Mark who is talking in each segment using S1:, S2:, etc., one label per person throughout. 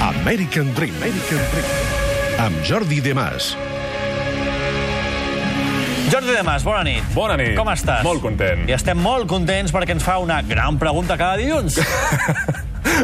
S1: American Dream. American Dream. Amb Jordi Demàs.
S2: Jordi Demàs, bona nit.
S3: Bona nit.
S2: Com estàs?
S3: Molt content.
S2: I estem molt contents perquè ens fa una gran pregunta cada dilluns.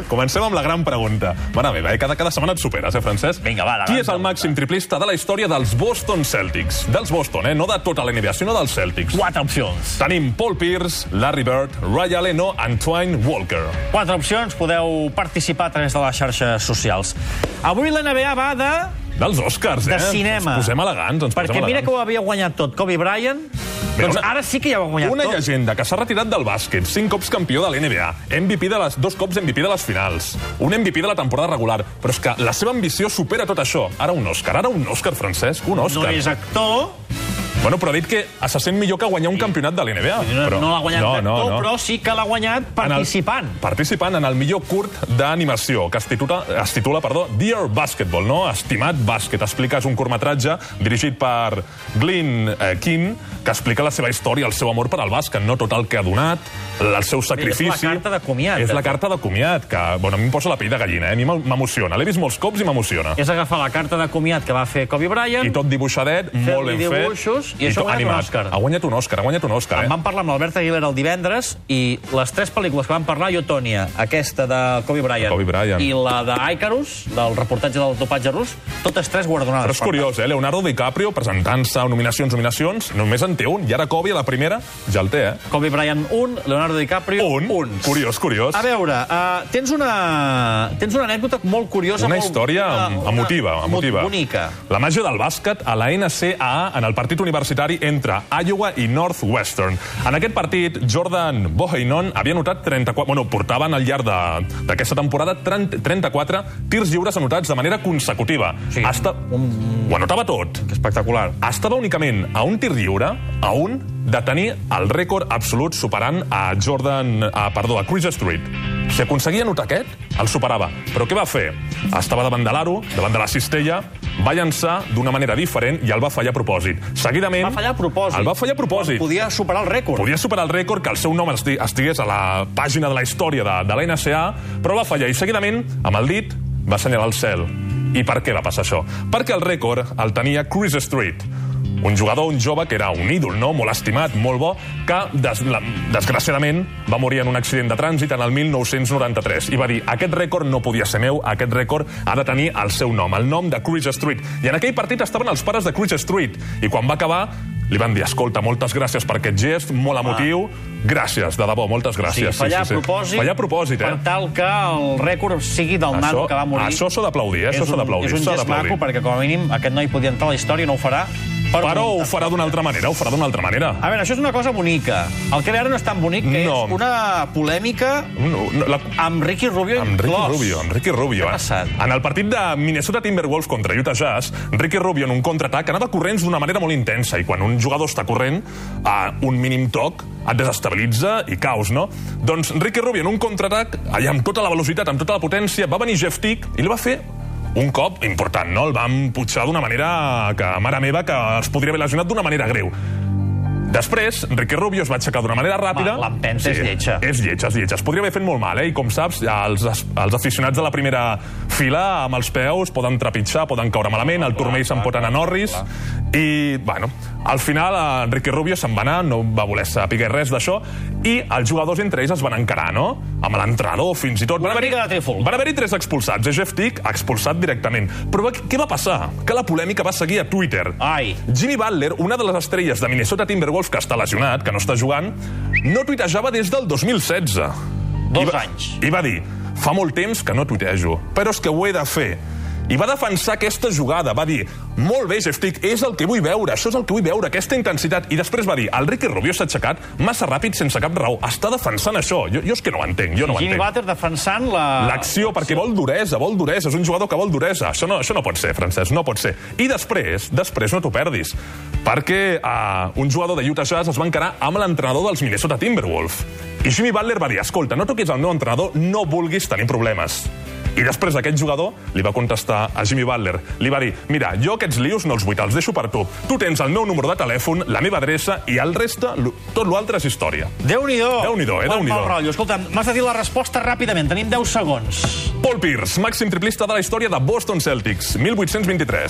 S3: Comencem amb la gran pregunta. Mare meva, eh? cada, cada setmana et superes, eh, Francesc?
S2: Vinga, va, la
S3: Qui
S2: gran
S3: és el
S2: pregunta.
S3: màxim triplista de la història dels Boston Celtics? Dels Boston, eh? No de tota la NBA, sinó dels Celtics.
S2: Quatre opcions.
S3: Tenim Paul Pierce, Larry Bird, Ray Allen o Antoine Walker.
S2: Quatre opcions, podeu participar a través de les xarxes socials. Avui la NBA va de...
S3: Dels Oscars,
S2: De
S3: eh?
S2: cinema.
S3: Ens posem elegants, ens
S2: Perquè
S3: posem
S2: mira que
S3: elegants.
S2: ho havia guanyat tot. Kobe Bryant,
S3: Mira,
S2: doncs
S3: una-
S2: ara sí que ja ho ha guanyat
S3: Una
S2: tot.
S3: llegenda que s'ha retirat del bàsquet, cinc cops campió de l'NBA, MVP de les, dos cops MVP de les finals, un MVP de la temporada regular, però és que la seva ambició supera tot això. Ara un Òscar, ara un Òscar, Francesc, un
S2: No
S3: Òscar.
S2: és actor,
S3: Bueno, però ha dit que se sent millor que guanyar un campionat de l'NBA.
S2: no,
S3: Però...
S2: no l'ha guanyat
S3: no, no,
S2: d'actor,
S3: no.
S2: però sí que l'ha guanyat
S3: En el-
S2: participant.
S3: Participant en el millor curt d'animació, que es titula, es titula perdó, Dear Basketball, no? Estimat bàsquet. Explica, és un curtmetratge dirigit per Glyn eh, Keane, que explica la seva història, el seu amor per al bàsquet, no tot el que ha donat, el seu sacrifici...
S2: És la carta de comiat, eh?
S3: És
S2: de
S3: la
S2: fet.
S3: carta de comiat, que, bueno, a mi em posa la pell de gallina, eh? A mi m'em- m'emociona. L'he vist molts cops i m'emociona.
S2: És agafar la carta de comiat que va fer Kobe Bryant.
S3: I tot dibuixadet, molt ben fet.
S2: dibuixos, i això ha guanyat
S3: tot
S2: un
S3: animat.
S2: Òscar.
S3: Ha guanyat un Òscar, ha guanyat un Òscar, eh?
S2: En vam parlar amb l'Albert Aguilera el divendres i les tres pel·lícules que vam parlar, jo, Tònia, aquesta de Kobe Bryant,
S3: Kobe Bryant.
S2: i la d'Icarus, del reportatge del dopatge rus, totes tres guardonades.
S3: Però és curiós, eh? Leonardo DiCaprio presentant-se a nominacions, nominacions, només en té un. I ara Kobe, a la primera, ja el té, eh?
S2: Kobe Bryant, un. Leonardo DiCaprio,
S3: Un.
S2: un.
S3: Curiós, curiós.
S2: A veure, uh, tens, una, tens una anècdota molt curiosa.
S3: Una
S2: molt,
S3: història
S2: una-
S3: emotiva,
S2: una-
S3: emotiva.
S2: Bonica.
S3: La màgia del bàsquet a la NCAA en el partit universitari entre Iowa i Northwestern. En aquest partit, Jordan Bohainon havia anotat 34... Bueno, portaven al llarg de- d'aquesta temporada 30, 34 tirs lliures anotats de manera consecutiva.
S2: Sí, un-
S3: Ho anotava tot.
S2: Espectacular.
S3: estava únicament a un tir lliure, a un, de tenir el rècord absolut superant a Jordan... A, perdó, a Chris Street. Si aconseguia anotar aquest, el superava. Però què va fer? Estava davant de l'aro, davant de la cistella, va llançar d'una manera diferent i el va fallar a propòsit. Seguidament...
S2: Va fallar a propòsit.
S3: El va fallar a propòsit.
S2: Podia superar el rècord.
S3: Podia superar el rècord que el seu nom esti- estigués a la pàgina de la història de, de la NSA, però va fallar i seguidament, amb el dit, va assenyalar el cel. I per què va passar això? Perquè el rècord el tenia Chris Street, un jugador, un jove que era un ídol, no? molt estimat, molt bo, que des, la, desgraciadament va morir en un accident de trànsit en el 1993 i va dir, aquest rècord no podia ser meu, aquest rècord ha de tenir el seu nom, el nom de Chris Street. I en aquell partit estaven els pares de Chris Street i quan va acabar li van dir, escolta, moltes gràcies per aquest gest, molt emotiu. Gràcies, de debò, moltes
S2: Sí,
S3: gràcies.
S2: fallar a propòsit,
S3: Fallar a propòsit, eh?
S2: per tal que el rècord sigui del nano que va morir.
S3: això s'ha d'aplaudir, eh?
S2: és
S3: Això s'ha
S2: un-
S3: d'aplaudir.
S2: És un
S3: s'ha
S2: gest
S3: d'aplaudir.
S2: maco, perquè com a mínim aquest noi podia entrar a la història, no ho farà.
S3: Però ho farà d'una altra manera, ho farà d'una altra manera.
S2: A veure, això és una cosa bonica. El que ve ara no és tan bonic, que
S3: No.
S2: és una polèmica
S3: No, no, la...
S2: amb Ricky Rubio
S3: Amb Ricky
S2: inclòs.
S3: Rubio, amb Ricky Rubio.
S2: Què ha
S3: eh?
S2: passat?
S3: En el partit de Minnesota Timberwolves contra Utah Jazz, Ricky Rubio en un contraatac anava corrents d'una manera molt intensa i quan un jugador està corrent, a un mínim toc et desestabilitza i caus, no? Doncs Ricky Rubio en un contraatac, allà amb tota la velocitat, amb tota la potència, va venir Jeff Tick i li va fer un cop important, no? El va emputxar d'una manera que, mare meva, que es podria haver lesionat d'una manera greu. Després, Ricky Rubio es va aixecar d'una manera ràpida...
S2: Home, l'empenta és lletja.
S3: És lletja, és lletja. Es podria haver fet molt mal, eh? I com saps, els, els aficionats de la primera fila, amb els peus, poden trepitjar, poden caure malament, el turmell se'n pot anar a Norris, i, bueno, al final eh, Enrique Rubio se'n va anar, no va voler saber res d'això, i els jugadors entre ells es van encarar, no? Amb l'entrenador, fins i tot. Van haver-hi
S2: mica de triful.
S3: van haver-hi tres expulsats, eh? Jeff Tick expulsat directament. Però va- què va passar? Que la polèmica va seguir a Twitter.
S2: Ai.
S3: Jimmy Butler, una de les estrelles de Minnesota Timberwolves que està lesionat, que no està jugant, no tuitejava des del 2016.
S2: Dos
S3: I va,
S2: anys.
S3: I va dir, fa molt temps que no tuitejo, però és que ho he de fer. I va defensar aquesta jugada, va dir, molt bé, Jeff Tick, és el que vull veure, això és el que vull veure, aquesta intensitat. I després va dir, el Ricky Rubio s'ha aixecat massa ràpid, sense cap raó, està defensant això. Jo, jo és que no ho entenc, jo no ho
S2: Jimmy
S3: entenc.
S2: Butler defensant la...
S3: L'acció, perquè vol duresa, vol duresa. És un jugador que vol duresa. Això no, això no pot ser, Francesc, no pot ser. I després, després no t'ho perdis, perquè uh, un jugador de Utah Jazz es va encarar amb l'entrenador dels Minnesota Timberwolves. I Jimmy Butler va dir, escolta, no toquis el meu entrenador, no vulguis tenir problemes. I després aquest jugador li va contestar a Jimmy Butler. Li va dir, mira, jo aquests lius no els vull, te'ls deixo per tu. Tu tens el meu número de telèfon, la meva adreça i el reste, lo- tot l'altre és història.
S2: Déu-n'hi-do.
S3: Déu-n'hi-do, eh?
S2: Quant
S3: Déu-n'hi-do.
S2: mal rotllo. Escolta'm, m'has de dir la resposta ràpidament. Tenim 10 segons.
S3: Paul Pierce, màxim triplista de la història de Boston Celtics, 1823.